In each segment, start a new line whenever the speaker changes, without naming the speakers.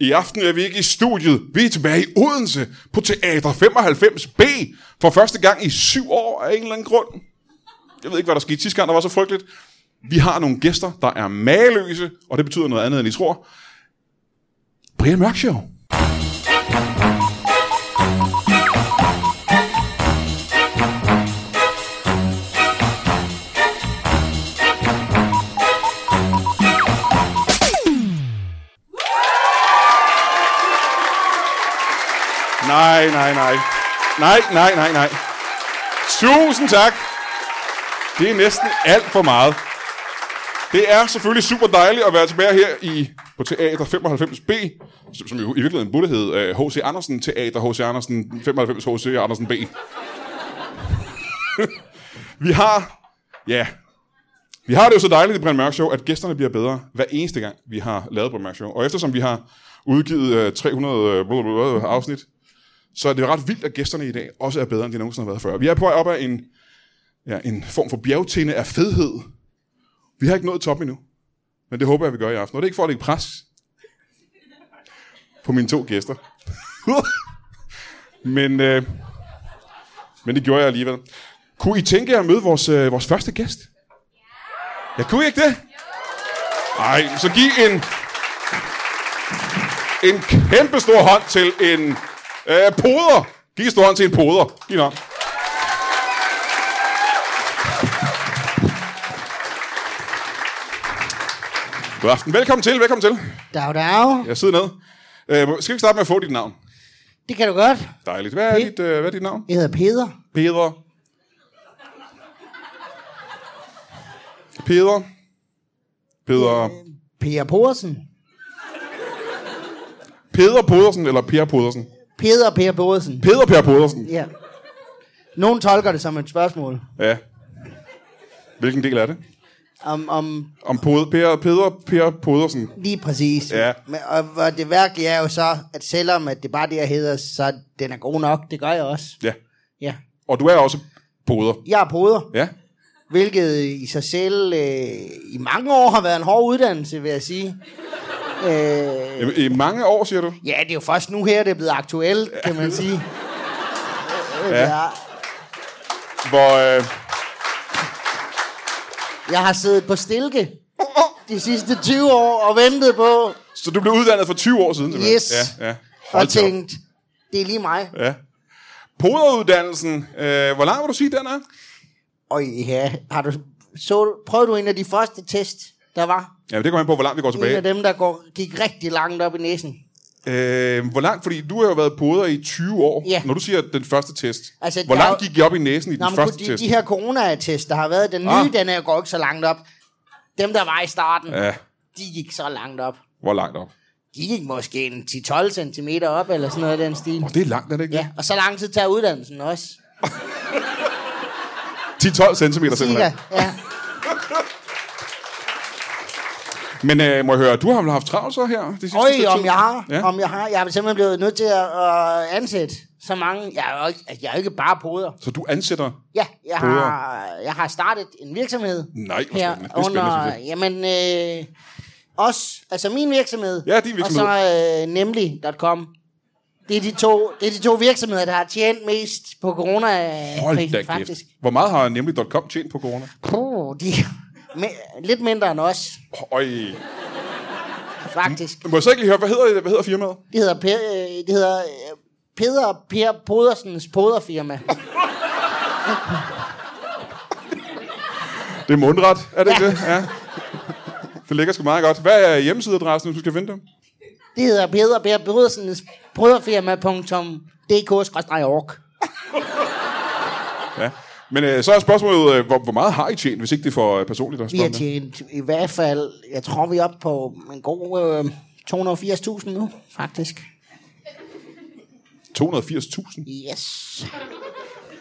I aften er vi ikke i studiet. Vi er tilbage i Odense på Teater 95B for første gang i syv år af en eller anden grund. Jeg ved ikke, hvad der skete sidste gang, der var så frygteligt. Vi har nogle gæster, der er mageløse, og det betyder noget andet, end I tror. Brian Mørk Show. Nej, nej, nej. Nej, nej, nej, nej. Tusind tak. Det er næsten alt for meget. Det er selvfølgelig super dejligt at være tilbage her i på Teater 95B, som- som jo i virkeligheden burde hedde øh, H.C. Andersen Teater H.C. Andersen 95 H.C. Andersen B. vi har, ja, vi har det jo så dejligt i Brian Mørk Show, at gæsterne bliver bedre hver eneste gang, vi har lavet Brian Mørk Show. Og eftersom vi har udgivet øh, 300 øh, blablabla afsnit, så er det ret vildt, at gæsterne i dag også er bedre, end de nogensinde har været før. Vi er på vej op af en, ja, en form for bjergtinde af fedhed. Vi har ikke nået toppen endnu, men det håber jeg, vi gør i aften. Og det er ikke for at lægge pres på mine to gæster. men, øh, men det gjorde jeg alligevel. Kunne I tænke jer at møde vores, øh, vores første gæst? Ja, kunne I ikke det? Nej, så giv en en kæmpe stor hånd til en øh, poder. Giv en stor hånd til en poder. Giv en hånd. God aften. Velkommen til, velkommen til.
Dag, dag.
Jeg sidder ned. Øh, skal vi ikke starte med at få dit navn?
Det kan du godt.
Dejligt. Hvad er,
Pe-
dit, øh, hvad er dit navn?
Jeg hedder Peder.
Peder. Peder. Peder.
Peder Porsen.
Peder Podersen eller Per Podersen?
Peder Per Porsen.
Peder Per Podersen.
Ja. Nogen tolker det som et spørgsmål.
Ja. Hvilken del er det?
Om, om
Om Pod- per, Peder Per Podersen.
lige præcis.
Ja.
Men, og, og, det værkelige er jo så, at selvom at det bare er det, jeg hedder, så den er god nok. Det gør jeg også.
Ja.
Ja.
Og du er også poder.
Jeg er poder,
Ja.
hvilket i sig selv øh, i mange år har været en hård uddannelse, vil jeg sige. Øh,
I, I mange år, siger du?
ja, det er jo først nu her, det er blevet aktuelt, kan man sige.
Ja.
Ja.
Hvor... Øh,
Jeg har siddet på stilke de sidste 20 år og ventet på
så du blev uddannet for 20 år siden? simpelthen?
Yes.
Ja, ja. Hold
og
da op.
tænkt, det er lige mig.
Ja. Poderuddannelsen, øh, hvor lang vil du sige, den er?
Og ja, har du, så, prøvede du en af de første test, der var?
Ja, det kommer an på, hvor langt vi går
En
tilbage.
af dem, der går, gik rigtig langt op i næsen.
Øh, hvor langt? Fordi du har jo været poder i 20 år.
Ja.
Når du siger den første test.
Altså,
hvor
der er
langt
jo-
gik I op i næsen i
Nå,
den
men
første
kunne de,
test?
de her coronatest, der har været, den nye,
Ah.
ah. den er går ikke så langt op. Dem, der var i starten,
Ja,
de gik så langt op.
hvor langt op?
De gik måske en 10-12 cm op, eller sådan noget i den stil.
Oh, det er langt, er det ikke?
Ja, og så lang tid tager uddannelsen også.
10-12 cm
Cirka,
simpelthen.
ja.
Men øh, må jeg høre, du har vel haft travlt så her? Det sidste stykke
Øj,
tid?
om jeg har.
Ja.
Ja. Om jeg har. Jeg er simpelthen blevet nødt til at, at ansætte så mange. Jeg er jo ikke, altså, jeg er jo ikke bare poder.
Så du ansætter...
Ja, jeg
Poder.
har, jeg har startet en virksomhed.
Nej, hvor
her
spændende. Det er spændende,
under, jamen, øh, os, altså min virksomhed.
Ja, din virksomhed.
Og så øh, nemlig.com. Det er, de to, det er de to virksomheder, der har tjent mest på
Hold da
corona
kæft.
faktisk.
Hvor meget har nemlig .com tjent på corona?
Puh, de, me, lidt mindre end os,
Øj.
faktisk.
Må jeg så ikke lige høre, hvad hedder, hvad hedder firmaet?
Det hedder, per, øh, det hedder øh, Peder Per Podersens poderfirma.
Det er mundret, er det ikke det? Ja. Det ligger sgu meget godt. Hvad er hjemmesideadressen, hvis du skal finde dem?
Det hedder Peder Per Podersens poderfirma.dk-org.
Ja. Men øh, så er spørgsmålet, øh, hvor, hvor meget har I tjent, hvis ikke det er for øh, personligt at
Vi har
spørge om det?
tjent i hvert fald, jeg tror vi er oppe på en god øh, 280.000 nu, faktisk.
280.000.
Yes.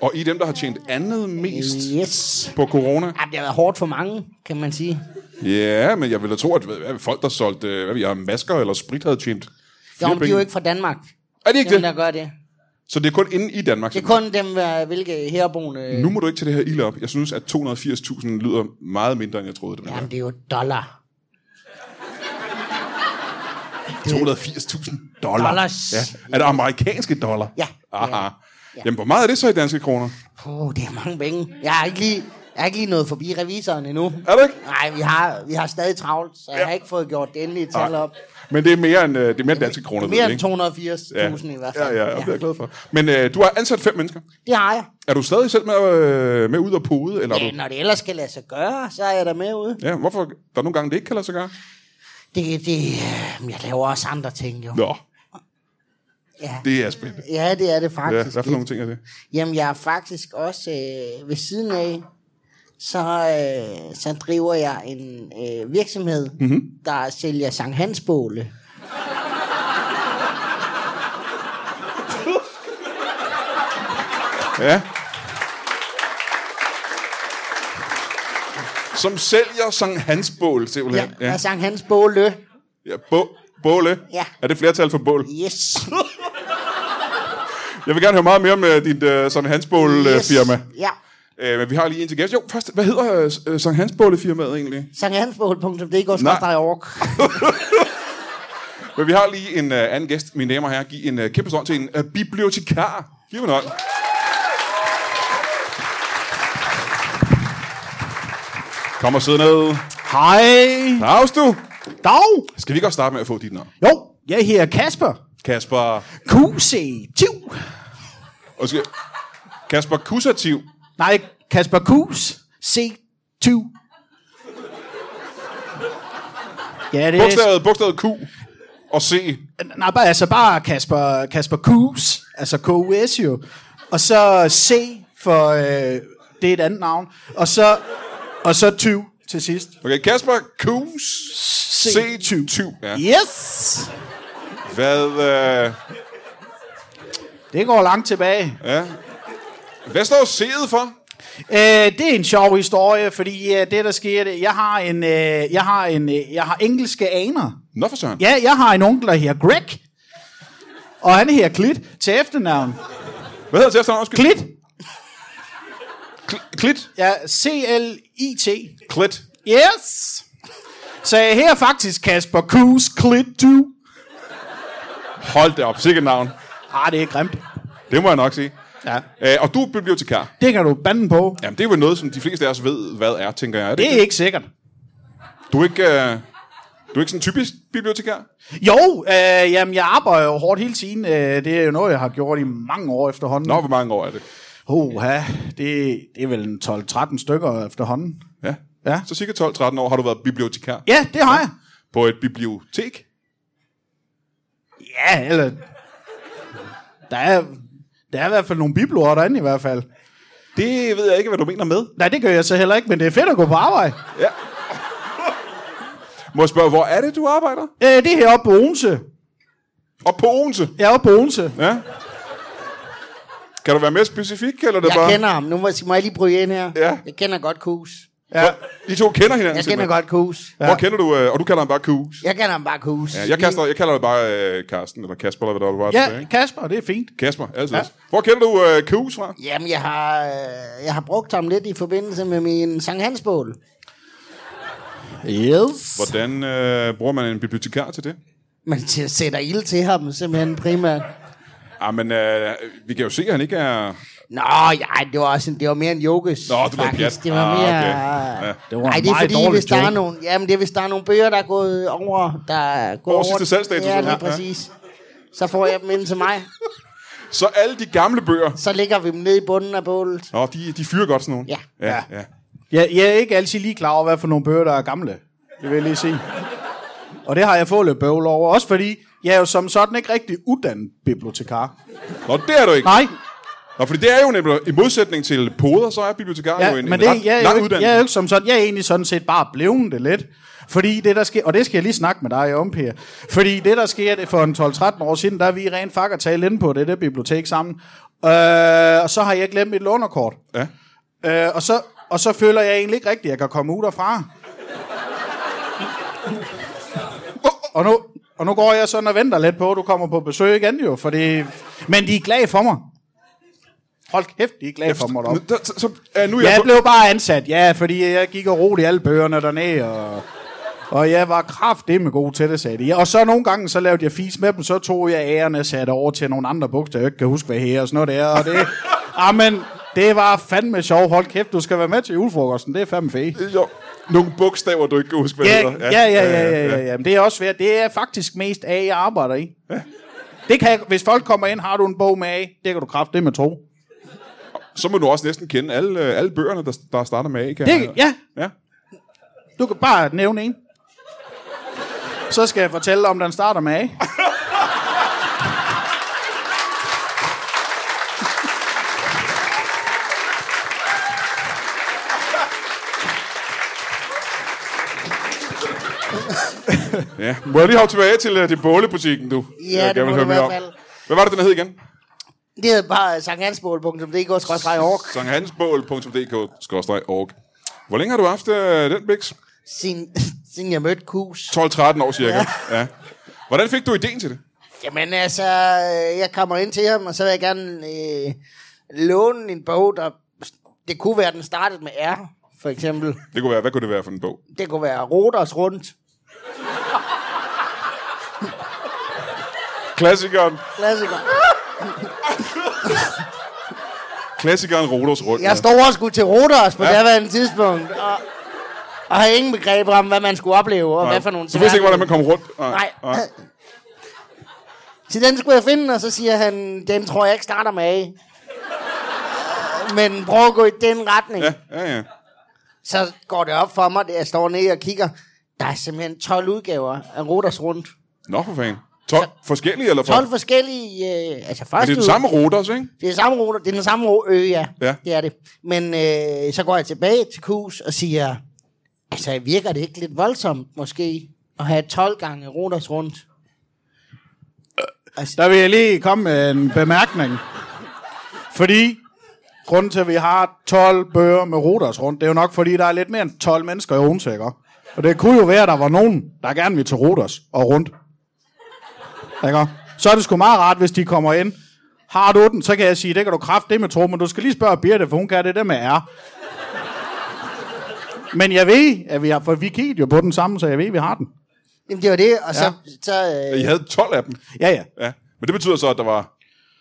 Og I er dem, der har tjent
Øh.
andet mest
Yes.
på corona?
Ej, det har været hårdt for mange, kan man sige.
Ja, men jeg ville da tro, at hvad- hvad, folk, der solgte øh, hvad, ved jeg, masker eller sprit, havde tjent
Jo,
flere
men de er jo
penge.
ikke fra Danmark.
Er de ikke
dem,
det?
der gør det.
Så det er kun inde i Danmark.
Det er kun dem, hver- hvilke herboende...
Nu må du ikke tage det her ild op. Jeg synes, at 280.000 lyder meget mindre, end jeg troede, det var.
Jamen, det er jo dollar.
280.000 dollar.
Dollars.
Ja. Er det amerikanske dollar?
Ja.
Aha. Ja. Jamen, hvor meget er det så i danske kroner?
Puh, det er mange penge. Jeg har ikke lige, jeg har ikke lige nået forbi revisoren endnu.
Er det ikke?
Nej, vi har, vi har stadig travlt, så jeg har ikke fået gjort det endelige tal op.
Men det er mere end, øh, det er mere end danske kroner.
Mere
ved
end
jeg,
280.000 i hvert
Ja,
fald.
ja, ja, det er jeg glad for. Men øh, du har ansat fem mennesker.
Det har jeg.
Er du stadig selv med, øh, med ud og pode? Eller er
Ja,
du...
når det ellers skal lade sig gøre, så er jeg der med ude.
Ja, hvorfor? Der er nogle gange, det ikke kan lade sig gøre.
Det, det, øh, jeg laver også andre ting, jo.
Nå,
Ja.
det er spændende.
ja, det er det
Ja,
faktisk.
hvad for nogle ting er det?
Jamen, jeg er faktisk også øh, ved siden af, så, øh, så driver jeg en øh, virksomhed,
Mhm.
mm-hmm. der sælger Sankt Hans båle.
Ja. Som sælger Sankt Hans Bål,
Ja,
simpelthen.
ja. Og Sankt Hans båle.
ja. Bå- båle.
Ja.
Er det flertal for bål?
Yes.
Jeg vil gerne høre meget mere om øh, dit uh, Sankt Hans Bål yes.
yes.
firma.
Ja.
Uh, men vi har lige en til gæst. Jo, først, hvad hedder uh, Sankt Hans Bål firmaet egentlig?
Sankthansbål.dk
Nej.
skrædder i ork.
Men vi har lige en uh, anden gæst, mine damer og herrer. Giv en uh, kæmpe stund til en uh, bibliotekar. Giv mig en hånd. Kom og sidde ned.
Hej.
Dags du.
Dag.
Skal vi ikke også starte med at få dit navn?
Jo, jeg hedder Kasper.
Kasper...
QC. Tiv.
Og skal... Kasper Kusativ.
Nej, Kasper Kus. C. 20. Ja, det er...
Bogstavet, bogstavet Q og C.
Nej, bare, altså bare Kasper, Kasper Kus. Altså K-U-S jo. Og så C for... Øh, det er et andet navn. Og så, og så 20 til sidst.
Okay, Kasper Kus C20. Ja.
Yes!
Hvad, øh,
Det går langt tilbage.
hvad står C'et for?
Øh, det er en sjov historie, fordi øh, det der sker, det, jeg har en, øh, jeg har en, øh, jeg har engelske aner.
Nå for søren.
Ja, jeg har en onkel, der hedder Greg. Og han hedder Clit til efternavn.
Hvad hedder det efternavn? Undskyld.
Clit?
Kl- Klit.
Ja, C-L-I-T.
Klit.
Yes! Så jeg hedder faktisk Kasper Kus Clit du.
Hold da op, sikkert navn.
Ah, det er grimt.
Det må jeg nok sige.
Ja.
Øh, og du er bibliotekar.
Det kan du bande på.
Jamen, det er vel noget, som de fleste af os ved, hvad er, tænker jeg. Er det,
Det
ikke
er ikke sikkert.
det? Du er ikke, øh, du er ikke sådan en typisk bibliotekar?
Jo, øh, jamen, jeg arbejder jo hårdt hele tiden. Øh, det er jo noget, jeg har gjort i mange år efterhånden.
Nå, hvor mange år er det?
Hoha, det, det er vel en 12-13 stykker efterhånden.
Ja.
Ja.
Så cirka 12-13 år har du været bibliotekar
Ja, det har jeg.
på et bibliotek.
Ja, eller... Der er, der er i hvert fald nogle bibler derinde i hvert fald.
Det ved jeg ikke, hvad du mener med.
Nej, det gør jeg så heller ikke, men det er fedt at gå på arbejde.
Må jeg spørge, hvor er det, du arbejder?
Øh, det er heroppe på Odense.
Og på Odense.
Jeg er oppe på Odense.
Ja. Kan du være mere specifik, eller er det
Jeg
bare...
kender ham. Nu må, må jeg lige bryde ind her.
Ja.
Jeg kender godt Kus.
Ja.
I to kender hinanden
Jeg kender
simpelthen.
godt Kus.
Hvor kender du... Øh, og du kalder ham bare Kus.
Jeg kender ham bare Kus.
Ja, jeg, kaster, jeg kalder det bare øh, Karsten, eller Kasper, eller hvad der var.
Ja, Kasper, det er fint.
Kasper, altid. Ja. Hvor kender du øh, Kus fra?
Jamen, jeg har, øh, jeg har brugt ham lidt i forbindelse med min Sankt Hansbål.
Yes.
Hvordan øh, bruger man en bibliotekar til det?
Man t- sætter ild til ham simpelthen primært.
Ah, men øh, vi kan jo se, at han ikke er...
Nå, ja, det var, også en, det var mere en jokes.
Nå, det var
faktisk.
pjat.
Det var
Ah,
mere...
okay. Ja.
Det var en
Ej, det er
meget
fordi,
dårlig
hvis der er
joke.
nogle, jamen, det er, hvis der er nogle bøger, der er gået over... Der er gået
Over sidste salgsdato,
Ja,
så.
lige
Ja, ja.
præcis. Så får jeg dem ind til mig.
Så alle de gamle bøger...
Så lægger vi dem ned i bunden af bålet.
Nå, de, de fyrer godt sådan nogle.
Ja.
ja, ja.
Jeg, jeg er ikke altid lige klar over, hvad for nogle bøger, der er gamle. Det vil jeg lige sige. Og det har jeg fået lidt bøvl over. Også fordi, jeg er jo som sådan ikke rigtig uddannet bibliotekar.
Nå, det er du ikke.
Nej,
Nå, fordi det er jo nemlig, i modsætning til poder, så er bibliotekar jo
ja,
en,
men
en
det,
ret
jeg, er
lang
jo ikke, jeg
uddannelse.
er jo ikke som sådan. Jeg er egentlig sådan set bare blevet det lidt. Fordi det, der sker, og det skal jeg lige snakke med dig om, Per. Fordi det, der sker det for en 12-13 år siden, der er vi rent faktisk tale inde på det der bibliotek sammen. Øh, og så har jeg glemt mit lånerkort.
Ja.
Øh, og, så, og så føler jeg egentlig ikke rigtigt, at jeg kan komme ud derfra. Og nu, og nu går jeg sådan og venter lidt på, at du kommer på besøg igen jo, fordi... Men de er glade for mig. Hold kæft, de er glade for mig deroppe.
Nu- der- Så, så, ja, nu er jeg,
Jeg
på-
blev bare ansat, ja, fordi jeg gik og roede i alle bøgerne dernede, og, og jeg var kraftedeme god til det, sagde de. Og så nogle gange, så lavede jeg fis med dem, så tog jeg ærerne satte over til nogle andre bukser, jeg ikke kan huske, hvad her og sådan noget der, og det... Amen, det var fandme sjovt. Hold kæft, du skal være med til julefrokosten, det er fandme fedt.
jo, nogle bogstaver, du ikke kan huske, hvad
Ja,
det
ja, ja, ja, ja, ja, ja. Men det er også svært. Det er faktisk mest A, jeg arbejder i. Ja. Det kan, jeg- hvis folk kommer ind, har du en bog med A, det kan du kraft det med tro.
Så må du også næsten kende alle, øh, alle bøgerne, der, der starter med A, kan
Det, ja,
ja.
du kan bare nævne en. Så skal jeg fortælle, om den starter med A.
ja. Må jeg lige hoppe tilbage til uh, det bålebutikken, du?
Ja, det må du i hvert fald.
Hvad var det, den hed igen?
Det hedder bare sankthansbål.dk-org
Sankthansbål.dk-org Hvor længe har du haft øh, den, Bix?
siden, siden jeg mødte Kus.
12-13 år cirka. Ja. ja. Hvordan fik du ideen til det?
Jamen altså, øh, jeg kommer ind til ham, og så vil jeg gerne øh, låne en bog, der... Det kunne være, den startede med R, for eksempel.
Det kunne være, hvad kunne det være for en bog?
Det kunne være Roters Rundt.
Klassikeren,
Klassiker.
klassikeren Rodos Rundt.
Jeg stod også skulle til Roters på
Ja.
ja. daværende tidspunkt, og, og havde ingen begreb om, hvad man skulle opleve, og Nej. hvad for nogle...
Så vidste jeg ikke, hvordan man
særlige-
kom rundt.
Nej. Så den skulle jeg finde, og så siger han, den tror jeg ikke starter med A. Men prøv at gå i den retning.
Ja,
Ja.
ja, ja.
Så går det op for mig, at jeg står ned og kigger. Der er simpelthen 12 udgaver af Roters Rundt.
Nå for fanden. 12 forskellige, eller for?
12 forskellige... Øh, altså
Men
første
det er den
ud-
samme Rodos, ikke?
Det er samme ruter, det er den samme ro- ø, ja.
Ja.
Det er det. Men øh, så går jeg tilbage til Kus og siger, altså virker det ikke lidt voldsomt måske at have 12 gange ruters rundt?
Der vil jeg lige komme med en bemærkning. Fordi grunden til, at vi har 12 bøger med roters rundt, det er jo nok, fordi der er lidt mere end 12 mennesker i Odense, ikke? Og det kunne jo være, at der var nogen, der gerne vil til roters og rundt. Ikke? Så er det sgu meget rart, hvis de kommer ind. Har du den, så kan jeg sige, det kan du kraft det med tro, men du skal lige spørge Birte, for hun kan det der med R. Men jeg ved, at vi har, for vi kiggede jo på den sammen, så jeg ved, at vi har den.
Jamen det var det, og ja. så... så øh,
I havde 12 af dem.
Ja, ja.
Ja. Men det betyder så, at der var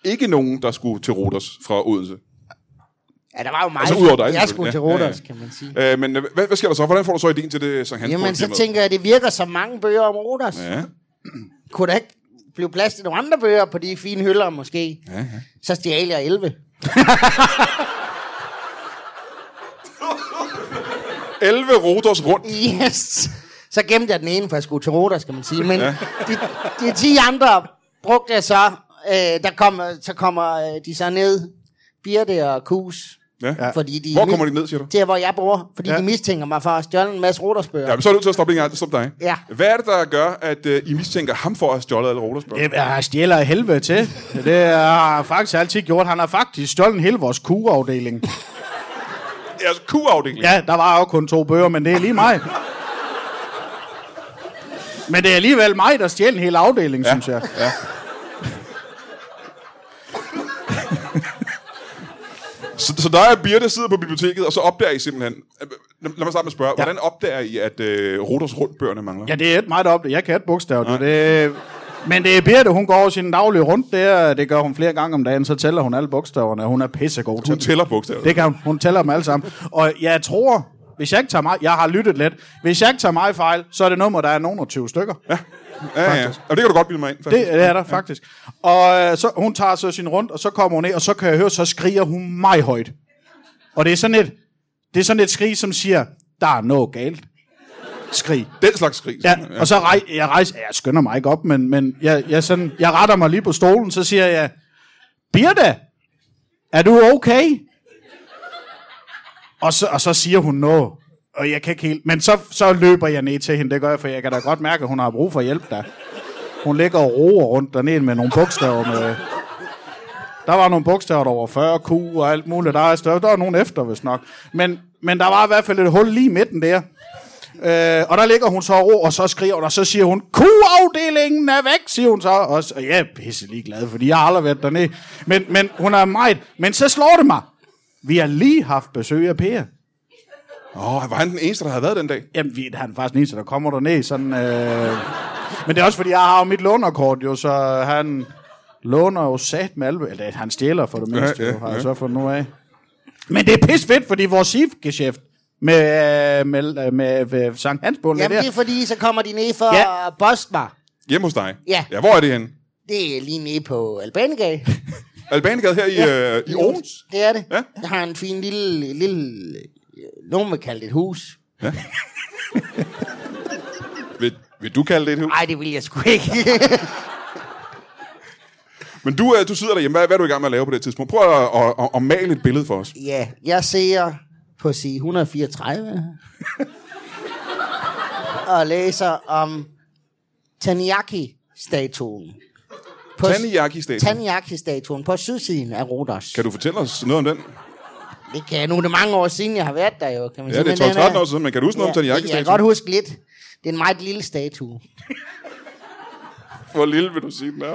ikke nogen, der skulle til Rodos fra Odense.
Mm. ja, der var jo mig.
Altså, udover dig,
jeg skulle til
selvfølgelig. Ja,
ruters,
ja,
ja,
ja.
ja. kan man sige.
Øh, men øh, hvad, hvad sker der så? Hvordan får du så ideen til det Sankt Hans
Jamen, så tænker jeg, at det virker som mange bøger om ruters. Ja.
Ja.
Kunne der ikke blive plads til nogle andre bøger på de fine hylder måske? Ja, ja. Så stjal jeg 11.
11 Rodos rundt.
Yes. Så gemte jeg den ene, for jeg skulle til Rodas, skal man sige. Men ja. de, de 10 andre brugte jeg så. Øh, der kom, så kommer øh, de så ned, Birte og Kus.
Ja.
Ja. Fordi de,
Hvor kommer de ned, siger du?
Til hvor jeg bor, fordi
Ja.
ja. de mistænker mig for at stjåle en masse Rodersbøger.
Ja,
Ja.
men så er du nødt til at stoppe lige en gang. Stop dig.
Ja.
Hvad er det, der gør, at øh, I mistænker ham for at have stjålet alle Rodos børn?
Det er stjæler af helvede til. Det har han faktisk altid gjort. Han har faktisk stjålet hele vores kugeafdeling.
Altså, Q-afdeling.
Ja, der var jo kun to bøger, men det er lige mig. Men det er alligevel mig, der stjæler en hel afdeling, ja. synes jeg.
ja. Så, så der er Birte sidder på biblioteket, og så opdager I simpelthen... Øh, Lad, lad mig starte med at spørge, ja. hvordan opdager I, at øh, Rodos rundbøgerne mangler?
Ja, det er ikke mig, der opdager. Jeg kan ikke bogstav. Det, det, men det er Birte, hun går over sin daglige rundt der. Det gør hun flere gange om dagen. Så tæller hun alle bogstaverne. Hun er pissegod til
Hun tæller bogstaver.
Det kan hun. Hun tæller dem alle sammen. Og jeg tror, hvis jeg ikke tager mig... Jeg har lyttet lidt. Hvis jeg ikke tager mig fejl, så er det nummer, der er nogen og 20 stykker. Ja.
ja, ja. ja. Og det kan du godt bilde mig ind, faktisk.
Det, det er der faktisk. Og øh, så, hun tager så sin rundt, og så kommer hun ned, og så kan jeg høre, så skriger hun meget højt. Og det er sådan et, det er sådan et skrig, som siger, der er noget galt. Skrig.
Det... Den slags skrig.
Ja,
simpelthen,
og så rej, jeg rejser, jeg skynder mig ikke op, men, men jeg, jeg, sådan, jeg retter mig lige på stolen, så siger jeg, Birte, er du okay? Og så, og så siger hun noget, og jeg kan ikke helt... Men så, så løber jeg ned til hende, det gør jeg, for jeg kan da godt mærke, at hun har brug for hjælp der. Hun ligger og roer rundt dernede med nogle bogstaver med... Der var nogle bogstaver, der var 40 Q og alt muligt. Der er større. Der var nogle efter, hvis nok. Men, men der var i hvert fald et hul lige i midten der. Øh, og der ligger hun så og ro, og så skriver hun, og så siger hun, Q-afdelingen er væk, siger hun så. Og, så, og jeg er pisse ligeglad, fordi jeg har aldrig været dernede. Men, men hun er meget... Men så slår det mig. Vi har lige haft besøg af Per.
Åh, oh, var han den eneste, der havde været den dag?
Jamen, vi, han er faktisk den eneste, der kommer derned. Sådan, øh... Men det er også, fordi jeg har jo mit lånerkort, jo, så han låner jo sat med albu- Eller han stjæler for det mindste, ja, ja, jo, har ja. jeg så fundet nu af. Men det er pis fedt, fordi vores SIF-geschæft med, øh, med, øh, med, med Sankt Hans Bunde
Jamen,
der.
det er fordi, så kommer de ned for
Ja.
ja. at boste mig.
Hjemme hos dig?
Ja.
ja hvor er det henne?
Det er lige nede på Albanegade.
Albanegade her i, ja. øh, i Aarhus?
Det er det.
Ja.
Ja. Jeg har en fin lille, lille øh, nogen vil kalde det et hus.
Vil, vil du kalde det et hus?
Nej, det vil jeg sgu ikke.
Men du, øh, du sidder derhjemme. Hvad, hvad er du i gang med at lave på det tidspunkt? Prøv at, at, at, at male et billede for os.
ja, jeg ser på side 134 og læser om Taniyaki-statuen. På-
Taniyaki-statuen.
Taniyaki-statuen på sydsiden af Rodos.
Kan du fortælle os noget om den?
Det kan jeg nu. Det er mange år siden, jeg har været der jo. Kan man
Ja,
sige.
det
Men
er
den
12-13 år siden, men kan du huske noget om
det kan jeg
Taniyaki-statuen?
godt huske lidt. Det er en meget lille statue.
Hvor lille vil du sige den er?
Den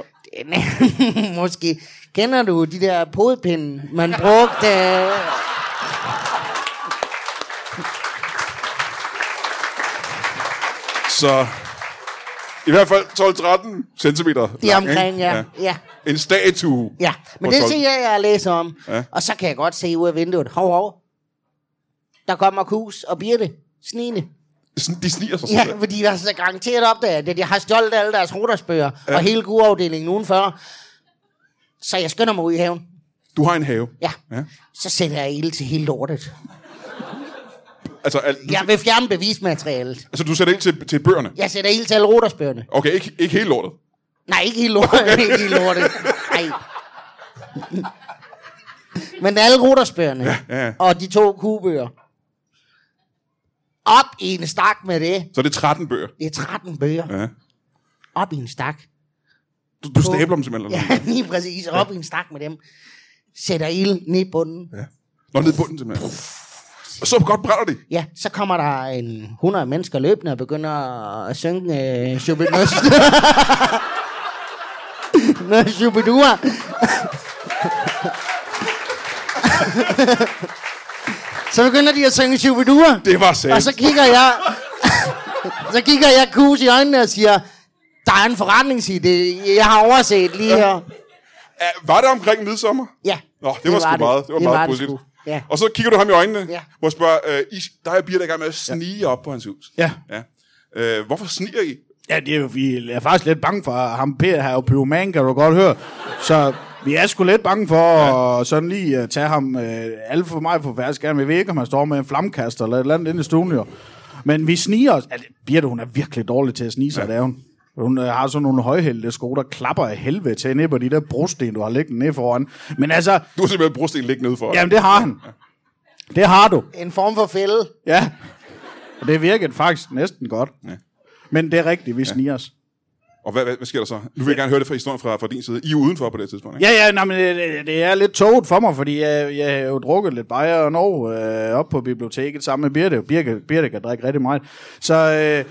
er, måske kender du de der podepinde, man brugte... øh,
Så i hvert fald 12-13 cm.
Det er omkring, ja. ja. ja.
En statue.
Ja, men
Hvor
det
tolv-
ser jeg, jeg læser om.
Ja.
Ja. Og så kan jeg godt se ud af vinduet. Hov, hov. Der kommer Kus og Birte. Snigende.
Sådan, de sniger sig
Ja,
sådan.
fordi jeg har så garanteret opdaget, at jeg har stjålet alle deres rodersbøger. Ja. Og hele kuafdelingen udenfor. Så jeg skynder mig ud i haven.
Du har en have.
Ja.
Ja.
ja. Så sætter jeg ild til hele lortet.
Altså, al, du,
Jeg vil fjerne bevismaterialet.
altså du sætter ind til, til bøgerne.
Jeg sætter ild til alle rodersbøgerne.
Okay, ikke, ikke hele lortet.
Nej, ikke hele lortet. ikke hele lortet. Nej. Men alle rodersbøgerne.
ja, ja.
Og de to kubøger. Op i en stak med det.
Så er det 13 bøger.
Det er 13 bøger.
Ja.
Op i en stak.
Du, du stabler dem simpelthen.
Ja,
Ja.
lige præcis. Op i en stak med dem. Sætter ild ned i bunden. Ja.
Nå, ned i bunden simpelthen. Og så godt brænder de.
ja, så kommer der en 100 mennesker løbende og begynder at synge øh, Shubidus. Nå, Shubidua. så begynder de at synge Shubidua.
Det var sandt.
Og så kigger jeg... så kigger jeg kus i øjnene og siger, der er en forretningsidé, jeg har overset lige her.
Ja, var det omkring midsommer?
Ja.
Nå, det, var, sgu meget. Det var meget positivt.
sgu. Ja.
Og så kigger du ham i øjnene,
Ja.
hvor jeg spørger, øh, I, der er Birte i gang med at snige ja. op på hans hus.
Ja.
ja. Øh, hvorfor sniger I?
Ja, det er jo, vi er faktisk lidt bange for ham. Per har jo pyroman, kan du godt høre. Så vi er sgu lidt bange for ja. at sådan lige at tage ham øh, alt for meget på færdig skærm. Jeg ved ikke, om han står med en flammekaster eller et eller andet inde i stuen, jo. Men vi sniger os. Altså, Birte, hun er virkelig dårlig til at snige sig, ja. det er hun. Hun øh, har sådan nogle højhældte sko, der klapper af helvede til ned på de der brosten, du har liggende ned foran. Men altså,
Du har simpelthen brosten liggende ude for os.
jamen det har han. Det har du.
En form for fælde.
Ja. Og det virkede faktisk næsten godt. Ja. Men det er rigtigt, vi sniger os.
Og hvad, hvad, hvad sker der så? Nu vil jeg gerne høre det fra historien fra, fra din side. I er jo udenfor på det tidspunkt, ikke?
Ja, ja, nej, men øh, det, det er lidt tåget for mig, fordi jeg, jeg har jo drukket lidt bajer og Norge øh, op på biblioteket sammen med Birte. Birte, Birte kan drikke rigtig meget. Så, øh,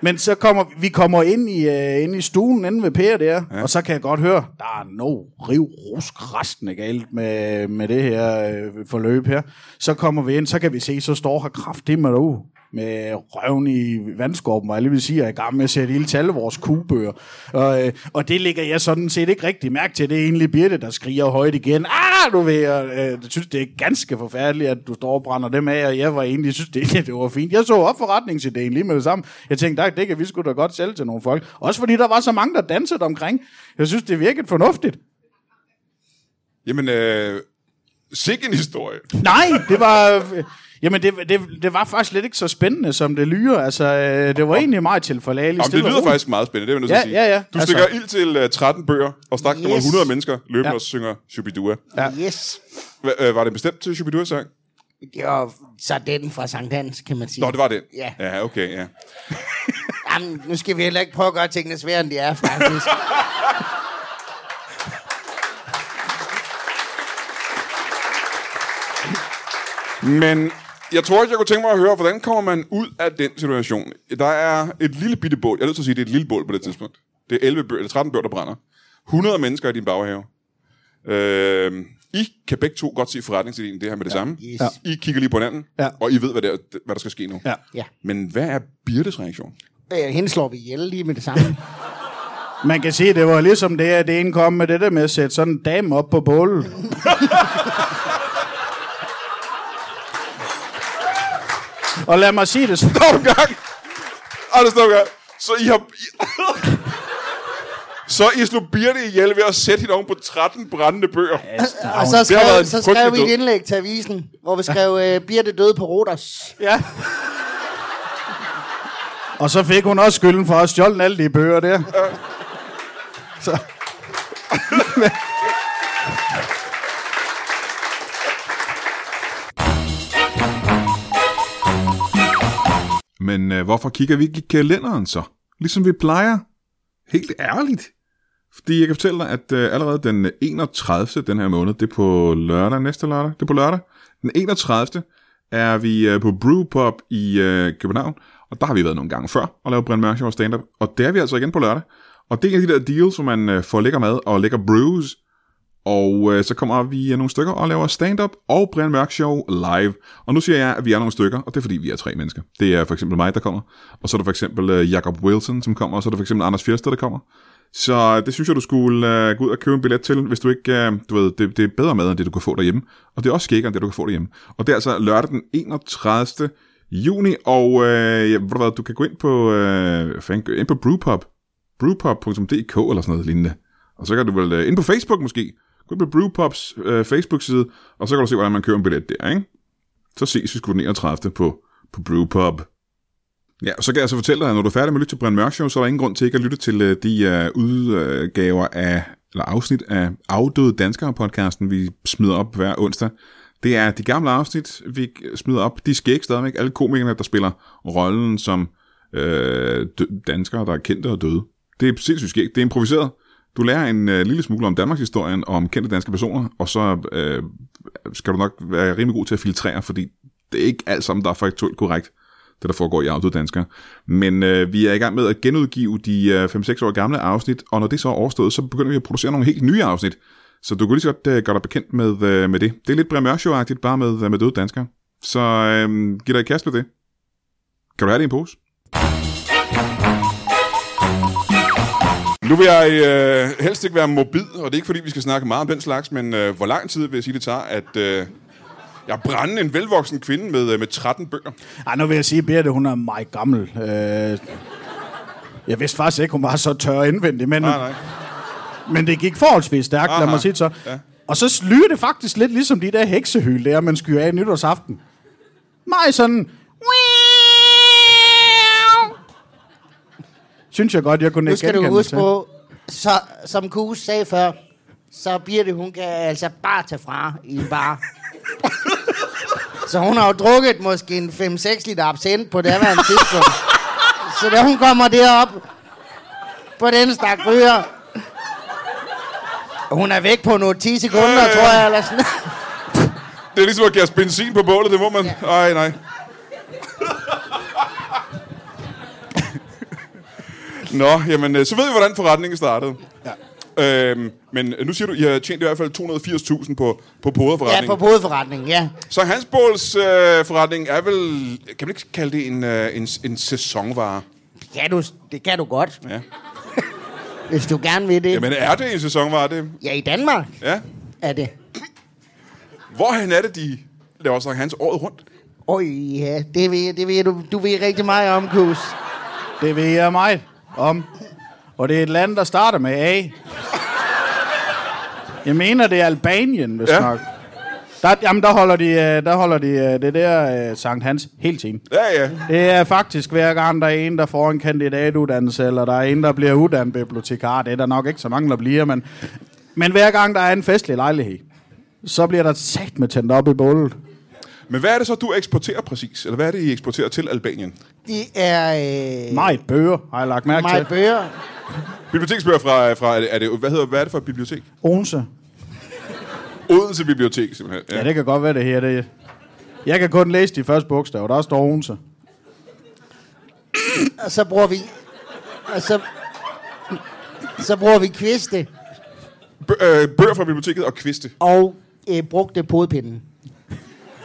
men så kommer vi kommer ind i, øh, ind i stuen inde ved Per der, ja. og så kan jeg godt høre, der er no riv ruskrastende galt med, med det her øh, forløb her. Så kommer vi ind, så kan vi se, så står her kraftigt med derude med røven i vandskorben, og alle vil sige, er i gang med at sætte ild til alle vores kugebøger. Og, øh, og det ligger jeg sådan set ikke rigtig mærke til. Det er egentlig Birte, der skriger højt igen. Ah, du ved, og, øh, jeg synes, det er ganske forfærdeligt, at du står og brænder dem af, og jeg var egentlig, synes, det, det var fint. Jeg så op forretningsideen lige med det samme. Jeg tænkte, "Nej, det kan vi sgu da godt sælge til nogle folk. Også fordi der var så mange, der dansede omkring. Jeg synes, det virkede fornuftigt.
Jamen, øh, sikke en historie.
Nej, det var... øh, Jamen, det, det, det var faktisk lidt ikke så spændende, som det lyder. Altså, øh, det var egentlig meget tilforlageligt.
Jamen, det
stille og
lyder
roligt.
faktisk meget spændende, det vil jeg nødt til
Ja,
at sige.
ja, ja.
Du
Altså-
stikker ild til uh, 13 bøger og stak yes. nummer
Yes.
100 mennesker løbende ja.
Ja.
og synger Shubidua.
Ja.
Yes.
Hva, øh, var det bestemt til Shubidua-sang?
Det var så den fra Sankt Hans, kan man sige.
Nå, det var det.
Ja.
Ja, okay, ja.
Jamen, nu skal vi heller ikke prøve at gøre tingene sværere, end de er, faktisk.
Men jeg tror ikke, jeg kunne tænke mig at høre, hvordan kommer man ud af den situation? Der er et lille bitte bål. Jeg er nødt til at sige, at det er et lille bål på det tidspunkt. Det er 11 bøger, eller 13 bøger, der brænder. 100 mennesker i din baghave. Øh, I kan begge to godt se forretningsideen i det her med det ja, samme.
yes.
I kigger lige på hinanden,
Ja.
og I ved, hvad, det er, hvad der skal ske nu.
Ja.
ja.
Men hvad er Birtes reaktion?
Øh, hende slår vi ihjel lige med det samme.
Man kan sige, det var ligesom det, at det ene kom med det der med at sætte sådan en dame op på bålet. og lad mig sige det, så-
Stop en gang! Anders, stop en gang. Så I har... I- Så I slog Birte ihjel ved at sætte hende oven på 13 brændende bøger.
Og så
Det har været
skrev,
en
så
frygtelig
skrev vi
død.
et indlæg til avisen, hvor vi skrev, øh, Birte døde på Rodos.
ja. Og så fik hun også skylden for at stjåle alle de bøger der. Så.
Men øh, hvorfor kigger vi ikke i kalenderen så? Ligesom vi plejer. Helt ærligt. Fordi jeg kan fortælle dig, at øh, allerede den 31. den her måned, det er på lørdag, næste lørdag, det er på lørdag. Den 31. er vi øh, på Brewpub i øh, København, og der har vi været nogle gange før og lavet Brian Mørk Show og stand-up, og der er vi altså igen på lørdag. Og det er en af de der deals, hvor man øh, får lækker mad og lækker brews, og øh, så kommer vi øh, nogle stykker og laver stand-up og Brian Mørk Show live. Og nu siger jeg, at vi er nogle stykker, og det er fordi, vi er tre mennesker. Det er for eksempel mig, der kommer. Og så er der for eksempel øh, Jacob Wilson, som kommer. Og så er der for eksempel Anders Fjersted, der kommer. Så det synes jeg, du skulle øh, gå ud og købe en billet til, hvis du ikke... Øh, du ved, det, det er bedre mad, end det, du kan få derhjemme. Og det er også skækkere, end det, du kan få derhjemme. Og det er altså lørdag den 31. juni. Og øh, ja, ved du, hvad, du kan gå ind på, øh, fanden, ind på Brewpub. Brewpub.dk eller sådan noget lignende. Og så kan du vel øh, ind på Facebook måske. Gå ind på Brewpops øh, Facebook-side, og så kan du se, hvordan man køber en billet der, ikke? Så ses vi sgu den 31. på, på Brewpub. Ja, og så kan jeg så fortælle dig, at når du er færdig med at lytte til Brian Mørk Show, så er der ingen grund til ikke at lytte til øh, de øh, udgaver af, eller afsnit af Afdøde Danskere-podcasten, vi smider op hver onsdag. Det er de gamle afsnit, vi smider op. De skal ikke stadigvæk. Alle komikerne, der spiller rollen som øh, dø- danskere, der er kendte og døde. Det er sindssygt skægt. Det er improviseret. Du lærer en øh, lille smule om Danmarks historien og om kendte danske personer, og så øh, skal du nok være rimelig god til at filtrere, fordi det er ikke alt sammen, der er faktuelt korrekt, det der foregår i Afdøde Danskere. Men øh, vi er i gang med at genudgive de øh, 5-6 år gamle afsnit, og når det så er overstået, så begynder vi at producere nogle helt nye afsnit. Så du kan lige så godt øh, gøre dig bekendt med, øh, med det. Det er lidt Brian Mørk Show-agtigt, bare med, øh, med døde danskere. Så øh, giv dig i kast med det. Kan du have det i en pose?
Nu vil jeg øh, helst ikke være mobil, og det er ikke fordi, vi skal snakke meget om den slags, men øh, hvor lang tid vil jeg sige, det tager, at øh, jeg brænder en velvoksen kvinde med, øh, med 13 bøger.
Ej, nu vil jeg sige, at Birte, hun er meget gammel. Øh, jeg vidste faktisk ikke, hun var så tør indvendig, men,
Nej, nej.
men det gik forholdsvis stærkt, Aha. lad
Aha,
mig sige det så.
ja.
Ja. Og så lyder det faktisk lidt ligesom de der heksehyl, der man skyer af nytårsaften. Meget sådan... Synes jeg godt, jeg kunne
Nu
ikke
skal du
genkende
huske
det til.
på, så, som Kus sagde før, så Birte, hun kan altså bare tage fra i en bar. så hun har jo drukket måske en 5-6 liter absint på det her tidspunkt. så da hun kommer derop på den stak ryger, hun er væk på nogle 10 sekunder,
Øh.
tror jeg, eller sådan
Det er ligesom at kaste benzin på bålet, det må man... Ja. Ej, nej. Nå, jamen, øh, så ved vi, hvordan forretningen startede. Ja. Øhm, men nu siger du, I har tjent i hvert fald 280.000 på, på
Ja,
poderforretningen.
på hovedforretningen, ja.
Så Hans Båls øh, forretning er vel... Kan man ikke kalde det en, øh, en, en sæsonvare?
Det kan du, det kan du godt,
Ja.
hvis du gerne vil det.
Jamen, er det en sæsonvare, det?
Ja, i Danmark
Ja.
er det.
Hvorhen er det, de laver Sankt Hans året rundt?
Oj, ja, det ved, det ved du, du ved rigtig meget om, Kus.
Det ved jeg meget om. Og det er et land, der starter med A. Jeg mener, det er Albanien, hvis
Ja.
ja. nok. Der, jamen, der holder de, øh, der holder de øh, det der øh, Sankt Hans hele tiden.
Ja, ja.
Det er faktisk hver gang, der er en, der får en kandidatuddannelse, eller der er en, der bliver uddannet bibliotekar. Det er der nok ikke så mange, der bliver, men, men hver gang, der er en festlig lejlighed, så bliver der sat med tændt op i bålet.
Men hvad er det så, du eksporterer præcis? Eller hvad er det, I eksporterer til Albanien?
De er... Øh,
Meget bøger, har jeg lagt mærke
Meget
til.
bøger.
Biblioteksbøger fra, fra er det, er det, hvad, hedder, hvad er det for et bibliotek?
Onse.
Odense Bibliotek, simpelthen.
Ja, det kan godt være det her. Det. Jeg kan kun læse de første bogstaver. Der står Onse.
Og så bruger vi... Og så, så bruger vi kviste
B- øh, bøger fra biblioteket og kviste.
og øh, brugte podpinden.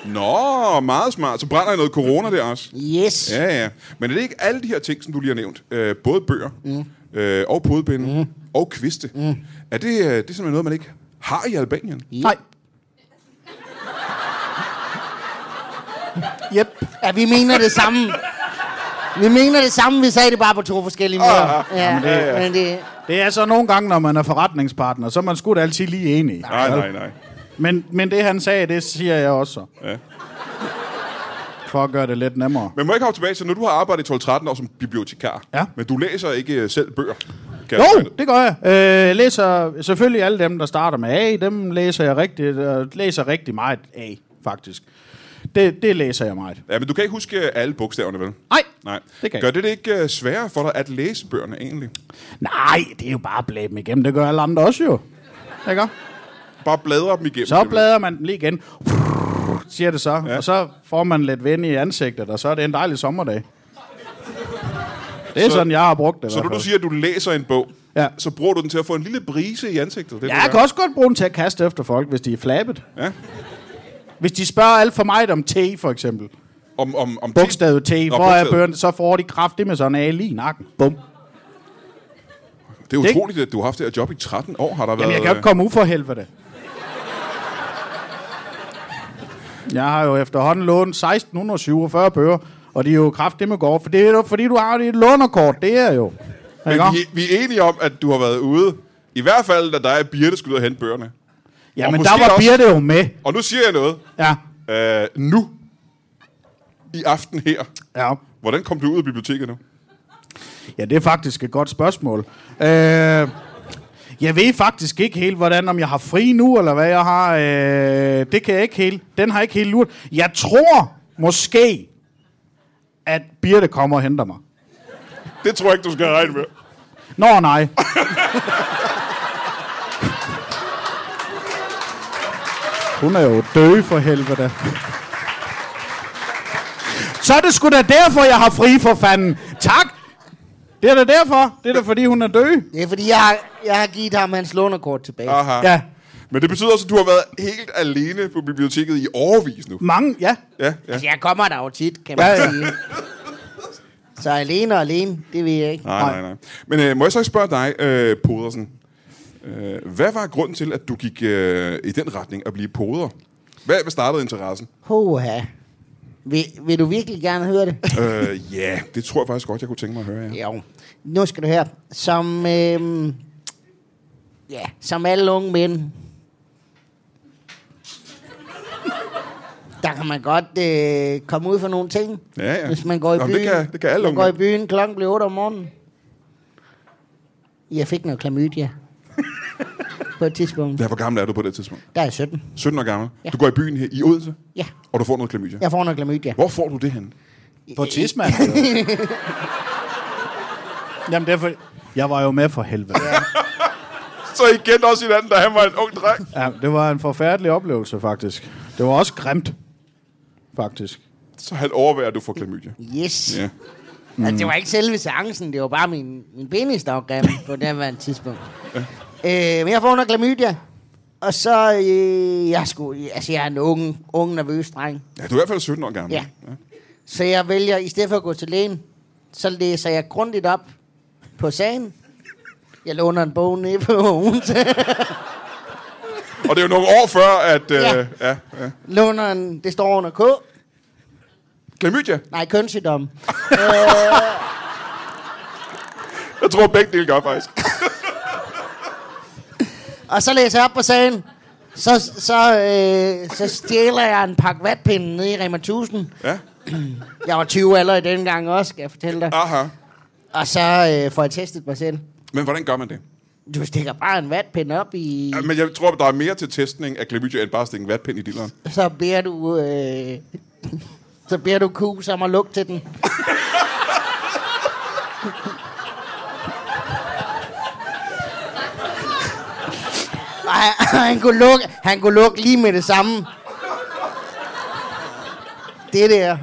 Nå, meget smart. Så brænder I noget corona der også.
Yes. Ja.
Ja, ja. Men er det ikke alle de her ting, som du lige har nævnt? Øh, både bøger, mm. øh, og podbinde, mm. og kviste. Mm. Er det, øh, det er simpelthen noget, man ikke har i Albanien?
Nej.
Yep. Ja, vi mener det samme. Vi mener det samme, vi sagde det bare på to forskellige måder. ja,
det-
men det,
Det er så nogle gange, når man er forretningspartner, så er man sgu da altid lige enig.
Nej, nej, nej.
Men, men det, han sagde, det siger jeg også. så.
Ja.
For at gøre det lidt nemmere.
Men må jeg ikke have tilbage til, når du har arbejdet i 12-13 år som bibliotekar,
Ja.
men du læser ikke øh, selv bøger? Kan jeg
Jo,
forstå det?
det gør jeg. Øh, jeg læser selvfølgelig alle dem, der starter med A. Dem læser jeg rigtig, øh, læser rigtig meget A, faktisk. Det, det læser jeg meget.
Ja, men du kan ikke huske øh, alle bogstaverne, vel?
Nej,
Nej.
Det kan
Gør
jeg.
det det ikke øh, sværere for dig at læse bøgerne, egentlig?
Nej, det er jo bare at blæde dem igennem. Det gør alle andre også jo. Ikke?
Bare bladre dem igennem.
Så bladrer man dem lige igen. Siger det så.
Ja.
Ja. Og så får man lidt vind i ansigtet, og så er det en dejlig sommerdag. Det er
Så-
så, sådan, jeg har brugt det. i
Så
hvert
når du
fald.
siger, at du læser en bog,
Ja.
så bruger du den til at få en lille brise i ansigtet. Det, er det,
Ja, jeg
der.
kan også godt bruge den til at kaste efter folk, hvis de er flabet.
Ja.
Hvis de spørger alt for meget om te, for eksempel.
Om, om, om
Bogstavet T,
Nå,
hvor er
bogstavet.
børn, så får de kraftigt med sådan en A lige i nakken. Bum.
Det er
Det-
utroligt, at du har haft det her job i 13 år. Har der været... øh,
Jamen, jeg kan jo ikke komme ud for helvede. Jeg har jo efterhånden lånt 1647 bøger, og de er jo kraftigt med går, for det er jo fordi, du har dit lånerkort, det er jo.
Men
Ikke?
vi, vi er enige om, at du har været ude. I hvert fald, da dig og Birte skulle ud og hente bøgerne.
Ja,
og
men
måske
der var
også-
Birte jo med.
Og nu siger jeg noget.
Ja,
Øh, nu. I aften her.
ja.
Hvordan kom du ud af biblioteket nu?
ja det er faktisk et godt spørgsmål. Øh, jeg ved faktisk ikke helt, hvordan, om jeg har fri nu, eller hvad jeg har. Øh, det kan jeg ikke helt. Den har jeg ikke helt lurt. Jeg tror måske, at Birte kommer og henter mig.
Det tror jeg ikke, du skal regne med.
Nå nej. Hun er jo død for helvede. Så er det sgu da derfor, jeg har fri for fanden. Tak. Det er da derfor. Det er da fordi, hun er død.
det er fordi, jeg har, jeg har givet ham hans lånerkort tilbage. Ah.
Aha.
Ja.
Men det betyder også, at du har været helt alene på biblioteket i årevis nu.
Mange, ja.
Ja, ja.
Altså, jeg kommer der jo tit, kan man
Ja, ja.
sige. Så alene og alene, det ved jeg ikke.
Nej, nej, nej. Men øh, må jeg så ikke spørge dig, øh, Podersen? Øh, hvad var grunden til, at du gik øh, i den retning at blive poder? Hvad, hvad startede interessen?
Hoha. Vil, vil du virkelig gerne høre det?
øh, ja, det tror jeg faktisk godt, jeg kunne tænke mig at høre, ja.
Jo. Nu skal du høre. Som, øhm, ja, som alle unge mænd, der kan man godt øh, komme ud for nogle ting.
Ja, ja.
Hvis man går i
Nå, men
byen.
det kan- det kan alle
man
unge
går i
mænd.
byen, klokken bliver 8 om morgenen. Jeg fik noget klamydia. på et tidspunkt.
Ja, hvor gammel er du på det tidspunkt?
Der er jeg 17.
17 år gammel. Ja.
Ja.
Du går i byen her i Odense,
Ja,
og du får noget klamydia. Ja.
jeg får noget klamydia.
Hvor får du det hen?
På tidsmand. Jamen derfor... Jeg var jo med for helvede.
Så igen også hinanden, da han var en ung dreng.
Ja, det var en forfærdelig oplevelse, faktisk. Det var også grimt, faktisk.
Så han overvejer, at du får klamydia.
Yes.
Ja.
Mm. Altså, det var ikke selve seancen, det var bare min, min penis, der var grim på det her tidspunkt. øh, men jeg får noget klamydia, og så, øh, jeg, skulle, altså, jeg er en unge, unge nervøs dreng.
ja, du er i hvert fald 17 år gammel.
Ja. Så jeg vælger, i stedet for at gå til lægen, så læser jeg grundigt op på sagen. Jeg låner en bog nede på ugen.
Og det er jo nogle år før, at... Øh, ja.
Ja.
Ja, ja.
låner en, det står under K.
Klamydia.
Nej, kønssygdom.
Jeg tror, begge dele gør faktisk.
Og så læser jeg op på sagen. Så, så, øh, så stjæler jeg en pakke vatpinde nede i Rema 1000.
Ja.
Jeg var 20 allerede dengang også, skal jeg fortælle dig.
Aha.
Og så øh, får jeg testet mig selv.
Men hvordan gør man det?
Du stikker bare en vatpind op i...
Ja, men jeg tror, der er mere til testning af klamydia, end bare at stikke en vatpind i dilleren.
Så beder du... Øh, så beder du kus om at lugte til den. Ej, han kunne, lukke, han kunne lukke lige med det samme. Det der.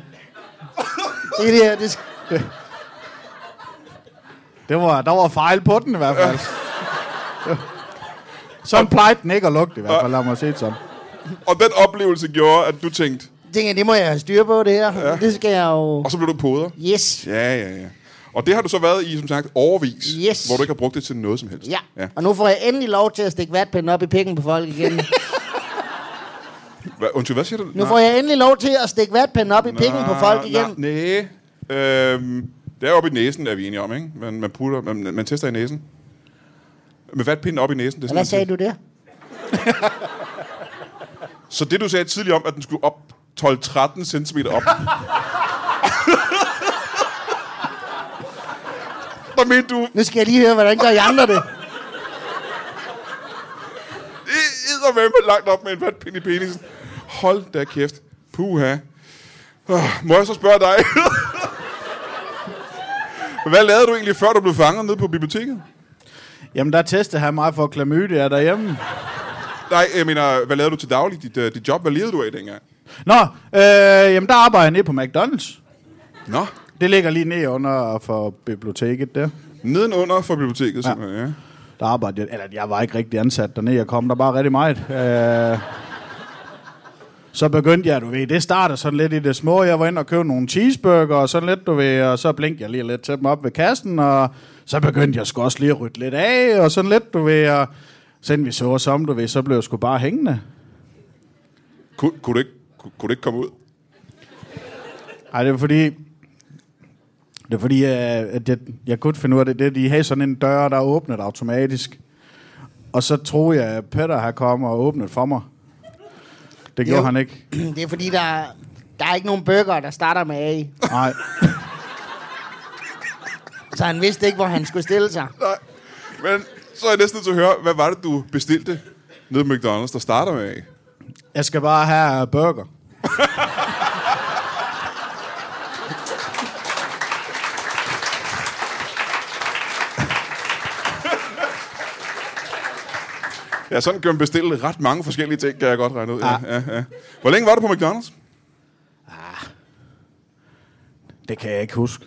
Det der, det, sk-
Det var, der var fejl på den i hvert fald. Sådan plejede den ikke at lugte i hvert fald, lad mig sige det sådan.
Og den oplevelse gjorde, at du tænkte,
tænker, jeg, det må jeg have styr på, det her. Ja. Det skal jeg jo...
og så blev du poder.
Yes.
Ja, ja, ja. Og det har du så været i, som sagt, overvis,
Yes.
hvor du ikke har brugt det til noget som helst.
Ja. ja. Og nu får jeg endelig lov til at stikke vatpinden op i pikken på folk igen.
Hva, undskyld, hvad siger du?
Nu får jeg endelig lov til at stikke vatpinden op i pikken på folk igen.
Nej, øhm, det er oppe i næsen, er vi enige om, ikke? Man, man, putter, man, man tester i næsen. Med vatpinden op i næsen. Det er sådan,
Hvad
man
sagde
siger.
du der?
Så det, du sagde tidligere om, at den skulle op 12-13 cm op. Der mente du,
Nu skal jeg lige høre, hvordan gør I andre det?
det med med langt op med en vatpind i penisen. Hold da kæft. Puha. Oh, må jeg så spørge dig? Hvad lavede du egentlig, før du blev fanget nede på biblioteket?
Jamen, der testede han mig for klamydia derhjemme.
Nej, jeg mener, hvad lavede du til daglig? Dit, øh, dit job, hvad levede du af dengang?
Nå, øh, jamen der arbejder jeg nede på McDonald's.
Nå,
Det ligger lige ned under for biblioteket der.
nedenunder for biblioteket, ja. simpelthen, ja.
Der arbejdede jeg, eller jeg var ikke rigtig ansat dernede, jeg kom der bare rigtig meget. Øh, så begyndte jeg, du ved, det starter sådan lidt i det små. Jeg var inde og købe nogle cheeseburger og sådan lidt, du ved, og så blinkede jeg lige lidt til dem op ved kassen, og så begyndte jeg sgu også lige at rytte lidt af, og sådan lidt, du ved, og siden vi så os om, du ved, så blev jeg sgu bare hængende.
Kun, kunne, du ikke, kunne, kunne du ikke komme ud?
Ej, det er fordi... Det er fordi, øh, at jeg, jeg kunne ikke finde ud af det. det de havde sådan en dør, der åbnet automatisk. Og så troede jeg, at Peter har kommet og åbnet for mig. Det gjorde
Jo.
han ikke.
Det er fordi, der, er- der er ikke nogen bøger, der starter med A.
Nej.
Så han vidste ikke, hvor han skulle stille sig.
Nej. Men så er jeg næsten nødt til at høre, hvad var det, du bestilte nede på McDonald's, der starter med af?
Jeg skal bare have burger.
Ja, sådan kan man bestille ret mange forskellige ting, kan jeg godt regne ud. Ja,
Ah.
ja, ja. Hvor længe var du på McDonald's?
Det kan jeg ikke huske.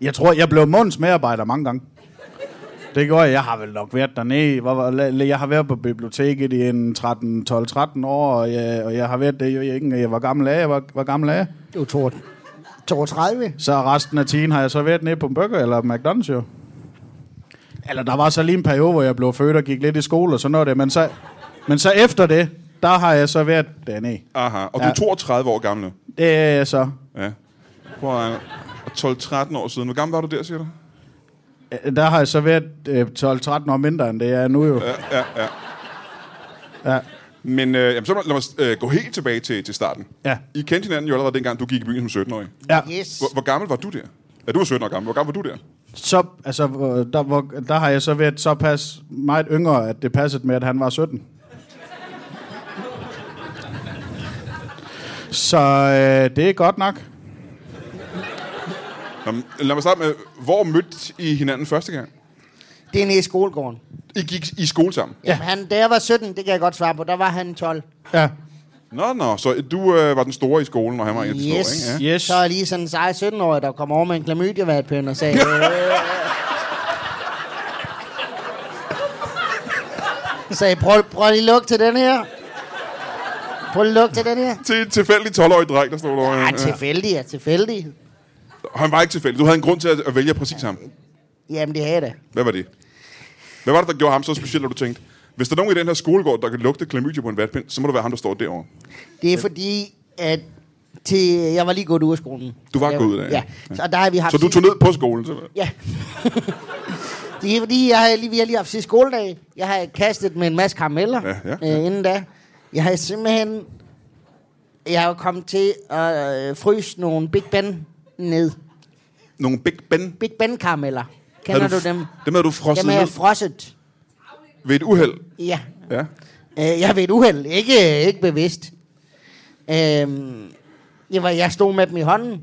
Jeg tror, jeg blev Måns medarbejder mange gange. Det gjorde jeg. Jeg har vel nok været dernede. Hvor var- la- la- Jeg har været på biblioteket i en 13, 12-13 år, og jeg, og jeg har været det, jeg, jeg, jeg var gammel af. Jeg var, var gammel af.
Du er 32.
Så resten af tiden har jeg så været nede på en burger eller McDonald's jo. Eller der var så lige en periode, hvor jeg blev født og gik lidt i skole og sådan noget. der, Men så, men så efter det, der har jeg så været dernede.
Aha, og du er
Ja.
32 år gammel nu.
Det er jeg så.
Ja. Prøv at regne. Og 12-13 år siden. Hvor gammel var du der, siger du?
øh, Der har jeg så været øh, 12-13 år mindre, end det jeg er nu jo.
Men øh, jamen, så lad mig øh, gå helt tilbage til, til starten.
Ja.
I kendte hinanden jo allerede dengang, du gik i byen som 17-årig.
Ja.
Yes.
Hvor, hvor gammel var du der? Ja, du var 17 år gammel. Hvor gammel var du der?
Så, altså, hvor- der, hvor, der har jeg så været så pas meget yngre, at det passede med, at han var 17. Så øh, det er godt nok.
Nå, men lad mig starte med, hvor mødte I hinanden første gang?
Det er nede i skolegården.
I gik i skole sammen?
Ja. Jamen, han, da jeg var 17, det kan jeg godt svare på, der var han 12.
Ja.
Nå, nå, så du øh, var den store i skolen, og han var en af de
Yes.
store, ikke?
Yes.
Så er lige sådan en sej 17-årig, der kom over med en klamydievatpind og sagde... øh, sagde, prøv, prøv lige luk til den her. Prøv lige luk til den her.
Til en tilfældig 12-årig dreng, der stod der.
Ja, tilfældig er tilfældig.
Han var ikke tilfældig. Du havde en grund til at, at vælge præcis ham.
Jamen, det havde jeg da.
Hvad var det? Hvad var det, der gjorde ham så specielt, at du tænkte, hvis der er nogen i den her skolegård, der kan lugte klamydia på en vatpind, så må det være ham, der står derovre.
Det er fordi, at til, jeg var lige gået ud af skolen.
Du var
Jeg-
gået ud af, ja.
ja. Så der har vi haft...
Så du
sidste-
tog ned på skolen? Så...
Ja. det er fordi, jeg har lige, vi har lige haft sidste skoledag. Jeg har kastet med en masse karameller
Ja, ja,
Øh, inden da. Jeg har simpelthen... Jeg har jo kommet til at øh, fryse nogle Big Ben ned.
Nogle Big Ben?
Big Ben karameller. Kender
Havde
du, dem?
Dem havde du frosset
Dem har
ned.
jeg frosset.
ved et uheld.
Ja.
Ja.
Øh, jeg ved et uheld. Ikke, ikke bevidst. Øhm, jeg, var, jeg stod med dem i hånden,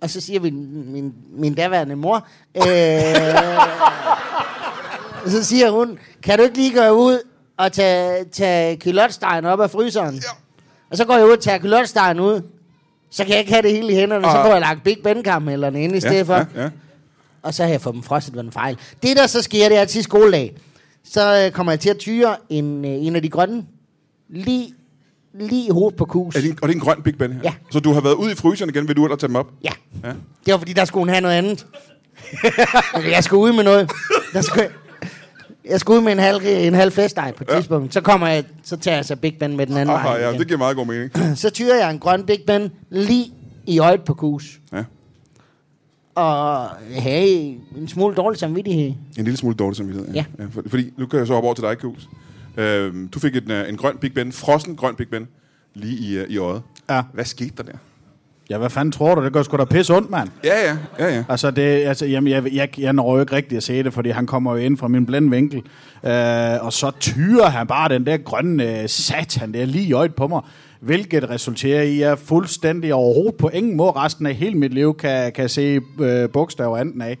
og så siger min, min, min daværende mor, øh, så siger hun, kan du ikke lige gå ud og tage, tage kylotstegen op af fryseren? Ja. Og så går jeg ud og tager kylotstegen ud, så kan jeg ikke have det hele i hænderne, så
Og-
får jeg lagt Big Ben-karamellerne ind i
Ah. Ja,
stedet for.
ja, ja.
Og så har jeg fået dem frosset ved en fejl. Det, der så sker, det er, at sidste skoledag, så øh, kommer jeg til at tyre en, øh, en af de grønne lige, lige i hovedet på kus.
Er det en, og det er en grøn Big Ben her?
Ja.
Så du har været ude i fryseren igen, vil du ellers tage dem op?
Ja.
Ja.
ja. Det var, fordi der skulle hun have noget andet. Men jeg skulle ud med noget. Der skulle jeg, jeg skulle ud med en halv, en halv festdej på et
Ja.
ja. tidspunkt. Så kommer jeg, så tager jeg så Big Ben med den anden
Aha,
vej.
ja,
igen.
det giver meget god mening.
Så tyrer jeg en grøn Big Ben lige i øjet på kus.
Ja.
Og øh, hey, en smule dårlig samvittighed.
En lille smule dårlig samvittighed.
Ja.
for, fordi nu kan jeg så hoppe over til dig, Kus. Øhm, du fik en, øh, en grøn Big Ben, frossen grøn Big Ben, lige i, øh, i øjet.
Ja.
Hvad skete der der?
Ja, hvad fanden tror du? Det går sgu da pisse ondt, mand.
Ja, ja, ja, ja.
Altså, det, altså jamen, jeg, jeg, jeg når jo ikke rigtigt at se det, fordi han kommer jo ind fra min blinde vinkel. Øh, og så tyrer han bare den der grønne øh, satan der lige i øjet på mig. Hvilket resulterer i, at jeg fuldstændig overhovedet på ingen måde resten af hele mit liv kan, kan se øh, bogstaver anden af.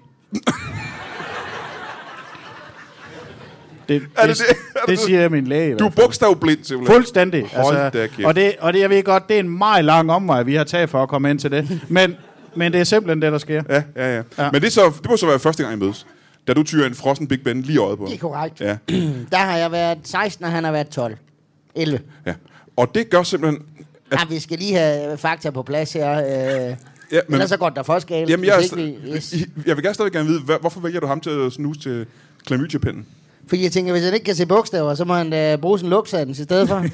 det, det,
Er det
det,
det? Er det
det siger min læge. i hvert
Du
fald.
er bogstavblind, simpelthen.
Fuldstændig. Altså,
Hold da kæft.
og, det, og det, jeg ved godt, det er en meget lang omvej, vi har taget for at komme ind til det. Men, men det er simpelthen det, der sker.
Ja, ja, ja. ja. Men det, er så, det må så være første gang, I mødes. Da du tyrer en frossen Big Ben lige i øjet på.
Det er korrekt.
Ja,
Der har jeg været 16, og han har været 12. 11.
ja. Og det gør simpelthen...
Ja, vi skal lige have fakta på plads her. Øh,
Ja,
ja,
men-
men, ellers så går der for skæld.
Jamen, jeg, er,
hvis
sta-
ikke vi, yes.
I- jeg vil gerne stadig gerne vide, hvad, hvorfor vælger du ham til at snuse til klamydia-pinden?
Fordi jeg tænker, hvis han ikke kan se bogstaver, så må han da bruge sin luksans i stedet for.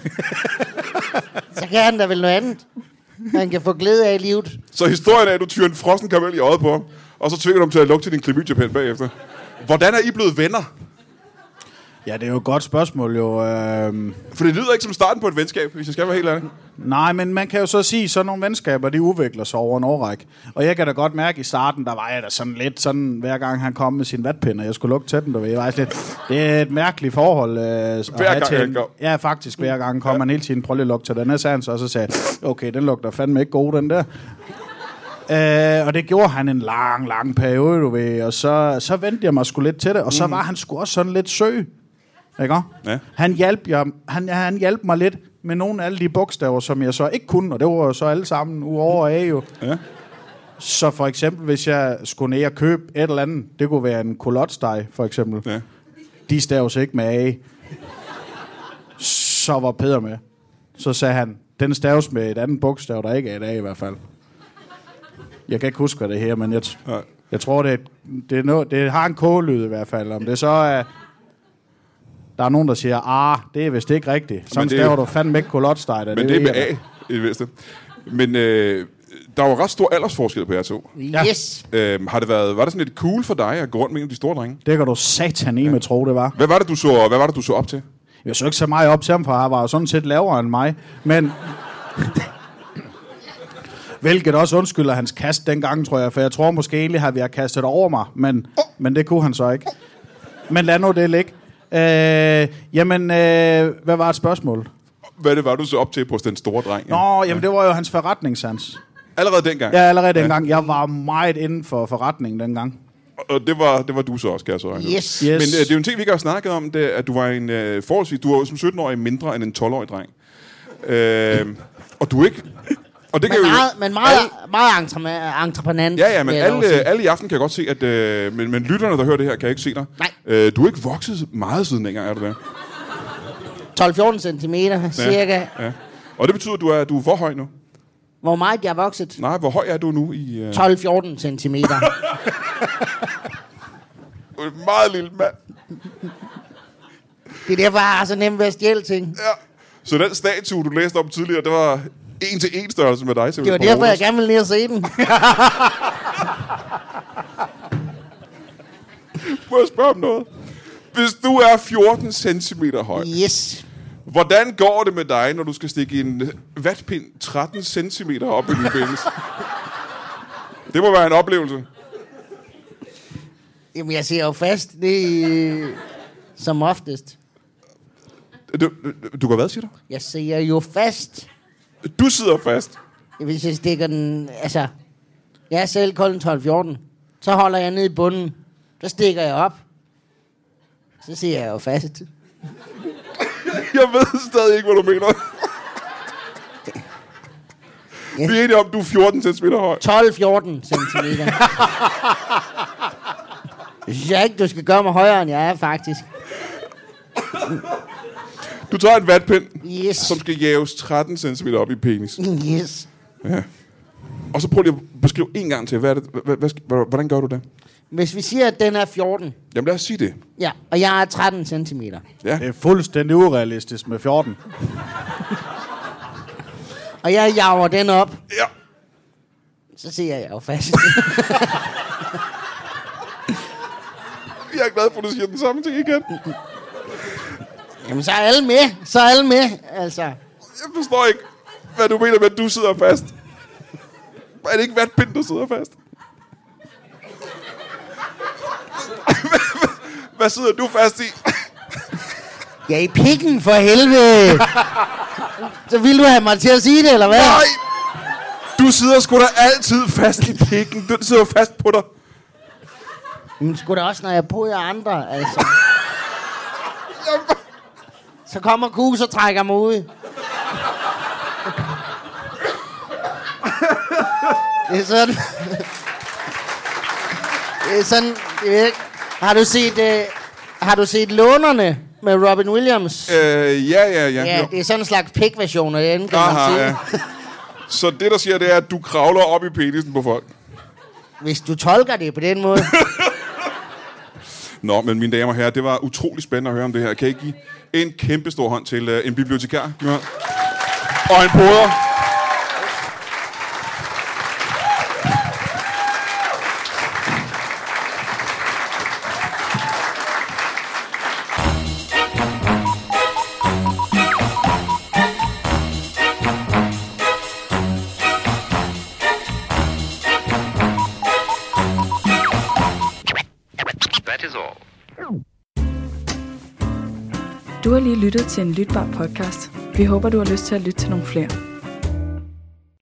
så kan han da vel noget andet. Han kan få glæde af i livet.
Så historien er, at du tyrer en frossen karamel i øjet på ham, og så tvinger du ham til at lugte til din klamydia-pind bagefter. Hvordan er I blevet venner?
Ja, det er jo et godt spørgsmål jo. Øhm,
For det lyder ikke som starten på et venskab, hvis jeg skal være helt ærlig.
nej, men man kan jo så sige, sådan nogle venskaber, de udvikler sig over en årrække. Og jeg kan da godt mærke, i starten, der var jeg da sådan lidt sådan, hver gang han kom med sin vatpind, og jeg skulle lukke til den, du ved. Jeg var sådan lidt, det er et mærkeligt forhold. Øh, at
Hver
have
gang
til
han
en-
kom.
Ja, faktisk hver gang kom han hele tiden, prøv lige at lukke til den her, sagde han så, og så sagde jeg, okay, den lugter fandme ikke god, den der. Øh, og det gjorde han en lang, lang periode, du ved. Og så, så vendte jeg mig sgu lidt til det. Og så var han sgu også sådan lidt søg. Ikke?
Mm. Ja.
Han, hjalp jeg, han, han hjalp mig lidt med nogle af alle de bogstaver, som jeg så ikke kunne. Og det var jo så alle sammen uover af jo.
Ja.
Så for eksempel, hvis jeg skulle ned og købe et eller andet, det kunne være en kolotsteg, for eksempel.
Ja.
De staves ikke med A. Så var Peder med. Så sagde han, den staves med et andet bogstav, der ikke er et A i hvert fald. Jeg kan ikke huske, hvad det her, men jeg, t-
Nej.
jeg tror, det, er- det, er noget, det har en k-lyd i hvert fald. Om det så er... Der er nogen, der siger, ah, det er vist ikke rigtigt. Sådan
Men det er
staver
jo-
du fandme ikke kolotsteg.
Men det er med A,
Øh.
i det mindste. Men øh, der var ret stor aldersforskel på jer to.
Ja.
Yes.
Øh, har det været, var det sådan lidt cool for dig at gå rundt med en af de store drenge?
Det kan du sataneme ja. tro, det var.
Hvad var det, du så, hvad var det, du så op til?
Jeg så ikke så meget op til ham, for han var jo sådan set lavere end mig. Men... Hvilket også undskylder hans kast dengang, tror jeg. For jeg tror måske egentlig, at vi har kastet over mig. Men, men det kunne han så ikke. Men lad nu det ligge. Øh, jamen, øh, hvad var et spørgsmål?
Hvad det var, du så op til på den store dreng? ja?
Nå, jamen det var jo hans forretningssans.
Allerede dengang?
Ja, allerede dengang. Jeg var meget inden for forretningen dengang.
Og det var, det var du så også, kan jeg så regne ud.
Yes.
Yes.
Men øh, det er jo en ting, vi ikke har snakket om, det er, at du var en øh, forholdsvis... Du var jo som 17-årig mindre end en 12-årig dreng. Øh, og du er ikke... Og det kan
Men
jo...
meget, men meget,
Alle,
meget entrema- entreprenant.
ja, ja, men
vil jeg dog
alle,
sige.
alle i aften kan godt se, at... Øh, men, men lytterne, der hører det her, kan ikke se dig.
Nej.
Øh, du er ikke vokset meget siden dengang, er du der?
12-14 centimeter, ja. cirka.
Ja. Og det betyder, at du er, du er for høj nu.
Hvor meget jeg er vokset?
Nej, hvor høj er du nu i... Øh,
12-14 centimeter.
du er en meget lille mand.
det er derfor, jeg har så nemt ved at stjæle ting.
Ja. Så den statue, du læste om tidligere, det var en til en størrelse med dig.
Det var
simpelthen, på
derfor, jeg
Rhodos.
gerne ville ned og se den.
Må jeg spørge om noget? Hvis du er 14 cm høj,
Yes.
hvordan går det med dig, når du skal stikke en vatpind 13 cm op i din penis? Det må være en oplevelse.
Jamen, jeg ser jo fast, det er, øh, som oftest.
Du, du går hvad, siger du?
Jeg sidder jo fast,
Du sidder fast.
hvis jeg stikker den... Altså, jeg er selv kolden 12-14. Så holder jeg ned i bunden. Så stikker jeg op. Så sidder jeg jo fast.
Jeg ved stadig ikke, hvad du mener. Vi er enige om, du er 14 cm høj.
12-14 cm. Det synes jeg ikke, du skal gøre mig højere, end jeg er, faktisk.
Du tager en vatpind,
Yes.
som skal jæves 13 cm op i penis.
Yes.
Og så prøv lige at beskrive en gang til, hvad er det, hvad, hvad, hvad, hvordan gør du det?
Hvis vi siger, at den er 14,
Jamen lad os sige det.
ja, og jeg er 13 cm.
Det er fuldstændig urealistisk med 14.
Og jeg jager den op,
Ja.
så sidder jeg jo fast.
Jeg er glad for, at du siger den samme ting igen.
Jamen, så er alle med. Så er alle med, altså.
Jeg forstår ikke, hvad du mener med, at du sidder fast. Er det ikke vatpind, der sidder fast? Hvad sidder du fast i?
Ja, i pikken for helvede. så vil du have mig til at sige det, eller hvad?
Nej! Du sidder sgu da altid fast i pikken. Du sidder jo fast på dig.
Men sgu da også, når jeg på jer andre, altså. Så kommer kus og trækker mig ud. Det er sådan... Det er sådan... Jeg ved ikke. Har du set... Øh, har du set Lånerne med Robin Williams?
Øh, ja, ja, ja.
Ja,
Jo.
det er sådan en slags pik-version af den, kan man
Aha,
sige.
ja. Så det, der siger, det er, at du kravler op i penisen på folk.
Hvis du tolker det på den måde.
Nå, men mine damer og herrer, det var utrolig spændende at høre om det her. Kan I give en kæmpe stor hånd til uh, en bibliotekar? Giv mig en hånd. Og en poder.
That is all.
Du har lige lyttet til en lytbar podcast. Vi håber, du har lyst til at lytte til nogle flere.